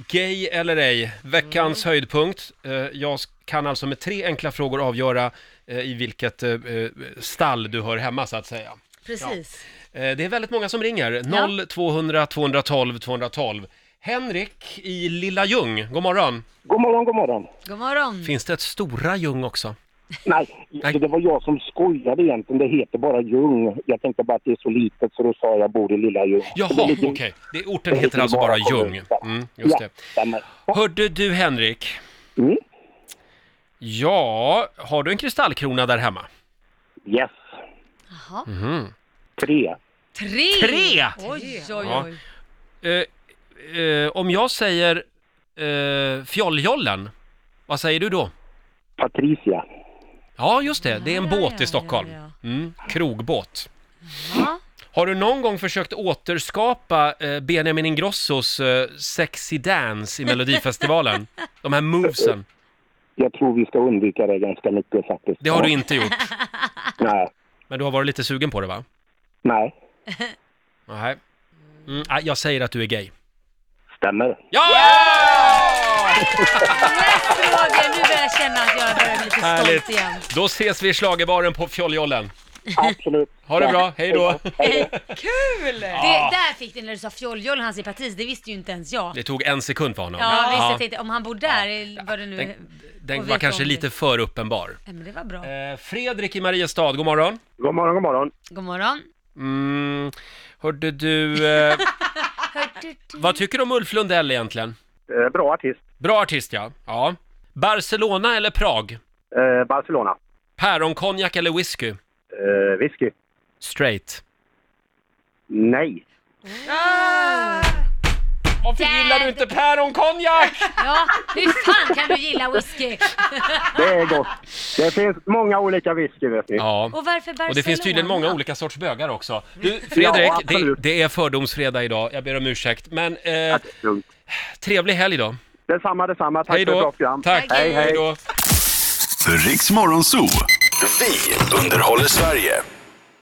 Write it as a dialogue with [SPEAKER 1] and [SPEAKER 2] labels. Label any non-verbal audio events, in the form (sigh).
[SPEAKER 1] Gay eller ej, veckans höjdpunkt. Eh, Jag s- kan alltså med tre enkla frågor avgöra eh, i vilket eh, eh, stall du hör hemma så att säga.
[SPEAKER 2] Precis.
[SPEAKER 1] Eh, Det är väldigt många som ringer. 0 200 212 212. Henrik i Lilla Ljung, god morgon.
[SPEAKER 3] God morgon, god morgon.
[SPEAKER 2] God morgon.
[SPEAKER 1] Finns det ett Stora Ljung också?
[SPEAKER 3] Nej,
[SPEAKER 1] Nej.
[SPEAKER 3] det var jag som skojade egentligen. Det heter bara Ljung. Jag tänkte bara att det är så litet så då sa jag bor i lilla Ljung.
[SPEAKER 1] Jaha,
[SPEAKER 3] Det
[SPEAKER 1] okej.
[SPEAKER 3] ligger-
[SPEAKER 1] Det- Orten heter alltså bara Ljung. Mm, just det.
[SPEAKER 3] Ja, stämmer.
[SPEAKER 1] Hörde du Henrik?
[SPEAKER 3] Mm.
[SPEAKER 1] Ja, har du en kristallkrona där hemma?
[SPEAKER 3] Yes,
[SPEAKER 2] Jaha.
[SPEAKER 1] Mhm.
[SPEAKER 3] tre.
[SPEAKER 2] Tre!
[SPEAKER 1] Tre!
[SPEAKER 2] Oj, oj,
[SPEAKER 1] Ja.
[SPEAKER 2] oj.
[SPEAKER 1] Eh, eh, om jag säger eh, fjolljollen, vad säger du då?
[SPEAKER 3] Patricia.
[SPEAKER 1] Ja, just det. Det är en
[SPEAKER 2] Ja,
[SPEAKER 1] båt
[SPEAKER 2] ja,
[SPEAKER 1] i
[SPEAKER 2] ja,
[SPEAKER 1] Stockholm.
[SPEAKER 2] ja.
[SPEAKER 1] Mm, krogbåt.
[SPEAKER 2] Ja.
[SPEAKER 1] Har du någon gång försökt återskapa eh, Benjamin Ingrossos eh, Sexy Dance i
[SPEAKER 2] (laughs)
[SPEAKER 1] Melodifestivalen? De här movesen.
[SPEAKER 3] Jag tror vi ska undvika det ganska mycket faktiskt.
[SPEAKER 1] Det har
[SPEAKER 3] Ja.
[SPEAKER 1] du inte gjort,
[SPEAKER 3] Nej,
[SPEAKER 1] men du har varit lite sugen på det va?
[SPEAKER 3] nej.
[SPEAKER 1] Nej. Mm, nej, jag säger att du är gay.
[SPEAKER 3] Stämmer.
[SPEAKER 1] Ja!
[SPEAKER 2] Rätt Roger, nu börjar jag känna att jag börjar bli lite
[SPEAKER 1] Härligt.
[SPEAKER 2] stolt igen.
[SPEAKER 1] Då ses vi i schlagerbaren på Fjoljollen.
[SPEAKER 3] Absolut.
[SPEAKER 1] Ha det bra, hej då!
[SPEAKER 2] Det, där fick du när du sa fjolljol, hans i partis, det visste ju inte ens jag.
[SPEAKER 1] Det tog en sekund för honom.
[SPEAKER 2] Ja, visst, jag tänkte om han bor där, eller vad det nu
[SPEAKER 1] Den,
[SPEAKER 2] och
[SPEAKER 1] den var
[SPEAKER 2] vet
[SPEAKER 1] kanske
[SPEAKER 2] om det.
[SPEAKER 1] lite för uppenbar.
[SPEAKER 2] Nej, men det var bra.
[SPEAKER 1] Eh, Fredrik i Mariestad, god morgon.
[SPEAKER 3] God morgon, god morgon.
[SPEAKER 2] God morgon.
[SPEAKER 1] Mm, hörde du,
[SPEAKER 3] (laughs)
[SPEAKER 1] eh,
[SPEAKER 2] Hörde du?
[SPEAKER 1] vad tycker du om Ulf Lundell egentligen?
[SPEAKER 3] Eh, bra artist.
[SPEAKER 1] Bra artist ja. ja. Barcelona eller Prag?
[SPEAKER 3] Eh, Barcelona. Eh,
[SPEAKER 1] Päronkonjak eller whisky?
[SPEAKER 3] whisky.
[SPEAKER 1] Straight.
[SPEAKER 3] Nej.
[SPEAKER 1] Varför
[SPEAKER 2] Där-
[SPEAKER 1] gillar du inte
[SPEAKER 3] (laughs)
[SPEAKER 1] päronkonjak?
[SPEAKER 2] Ja, hur fan kan du gilla whisky?
[SPEAKER 3] Det är gott. Det finns många olika whisky vet ni.
[SPEAKER 1] Ja.
[SPEAKER 2] Och varför Barcelona?
[SPEAKER 1] Och det finns tydligen många olika sorts bögar också. Du, Fredrik, det,
[SPEAKER 3] absolut.
[SPEAKER 1] det är fördomsfredag idag, jag ber om ursäkt. Men eh,
[SPEAKER 3] Att det är lugnt.
[SPEAKER 1] trevlig helg då.
[SPEAKER 3] Detsamma, detsamma. Tack
[SPEAKER 1] Hej
[SPEAKER 3] för ett bra
[SPEAKER 1] då.
[SPEAKER 3] program.
[SPEAKER 1] Tack.
[SPEAKER 3] Hej, hej.
[SPEAKER 1] då.
[SPEAKER 4] Riks Morgonzoo. Vi underhåller Sverige.